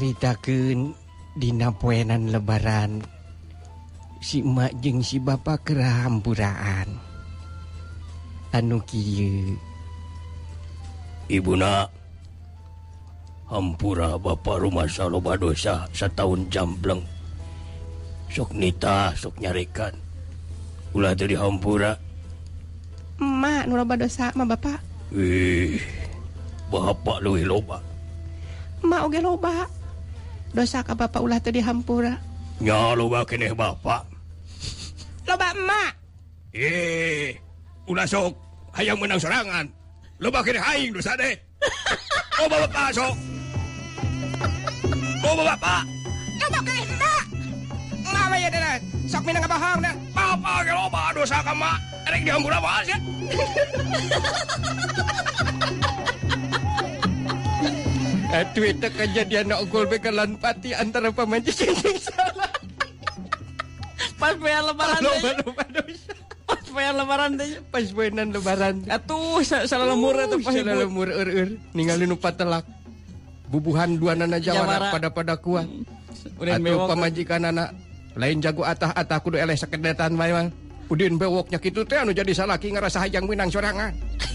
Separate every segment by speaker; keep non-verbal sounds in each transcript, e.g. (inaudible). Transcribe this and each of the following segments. Speaker 1: kecaritakeun dina poenan lebaran si emak jeung si bapa kerahampuraan anu kieu
Speaker 2: Ibuna Hampura Bapak rumah saloba dosa setahun jambleng Sok nita sok nyarekan Ulah dari Hampura
Speaker 3: emak nu loba dosa mah bapak
Speaker 2: Wih Bapak luwih loba
Speaker 3: emak oge loba dosa ka bapak ulah teu dihampura
Speaker 2: Nya loba keneh Bapak
Speaker 3: loba emak
Speaker 2: Eh Ulah sok hayang menang serangan Loba keneh aing dosa deh Loba Bapak sok Loba Bapak
Speaker 3: loba keneh emak emak mah ya dah sok minang bohong dah
Speaker 2: Bapak ge loba dosa ka mak Erek dihampura bae sia.
Speaker 1: Aduh itu kejadian nak gol bekalan pati antara pemancing yang salah
Speaker 4: Pas bayar lebaran teh.
Speaker 1: lupa dosa
Speaker 4: Pas bayar lebaran teh.
Speaker 1: pas poenan lebaran
Speaker 4: Atuh sa- salah lemur atau pas
Speaker 1: Salah
Speaker 4: ibu.
Speaker 1: lemur eur eur ningali nu patelak bubuhan dua nana
Speaker 4: Jawara.
Speaker 1: jawara pada pada kuat
Speaker 4: Udah
Speaker 1: atau
Speaker 4: mewok.
Speaker 1: pamajikan anak lain jago atah atah kudu eleh sekedetan memang udin bewoknya gitu teh anu jadi salah ki ngarasa hayang menang sorangan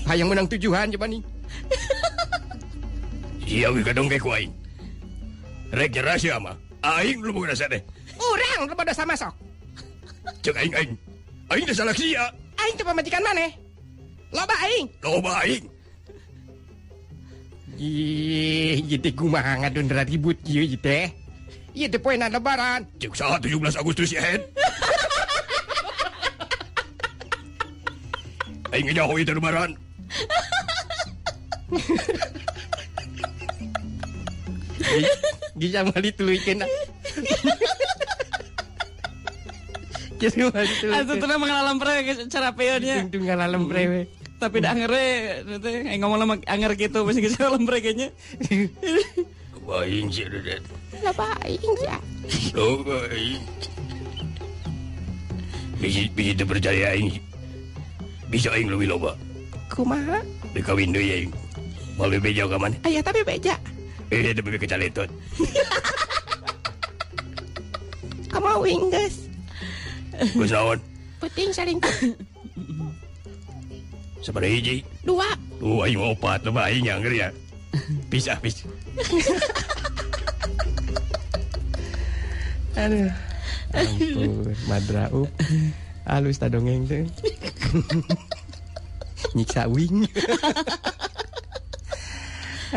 Speaker 1: hayang menang tujuhan coba nih
Speaker 2: (laughs) Iya wih kadong ke ku aing Rek nyerah sia mah Aing lu bukan dosa deh
Speaker 3: urang loba dosa masuk
Speaker 2: Cek aing aing Aing dosa lak sia
Speaker 3: aing teu pamajikan maneh loba aing
Speaker 2: Loba aing
Speaker 1: Ih, jadi kumaha ngadon ribut kieu ieu teh ieu teh poenan lebaran
Speaker 2: Cek saat 17 Agustus ya Hen Aing nyaho itu lebaran
Speaker 1: bisa mali
Speaker 3: (laughs)
Speaker 1: tuluykeun ah. Geus mali
Speaker 4: Atuh
Speaker 1: tuluykeun
Speaker 4: tuh mengalam pre cara peonnya.
Speaker 1: Untung ngalalem brewe
Speaker 4: Tapi dah anger teh eh, ngomong lama anger gitu pasti geus alam pre kayaknya.
Speaker 2: Aing sih Dedet
Speaker 3: loba aing ya
Speaker 2: Loba aing Bisi, bisi teu percaya aing Bisa aing lebih loba
Speaker 3: kumaha
Speaker 2: Bekawin deui aing Malu beja eh. ka mana
Speaker 3: aya tapi beja
Speaker 2: Eh teu bebe kecaletot
Speaker 3: kamu wingges
Speaker 2: Geus naon
Speaker 3: puting saling
Speaker 2: Sabada hiji
Speaker 3: dua
Speaker 2: Oh aing mah opat loba aing yang ya Pisah pisah
Speaker 1: aduh ampun madra up halus ta dongeng teh nyiksa wing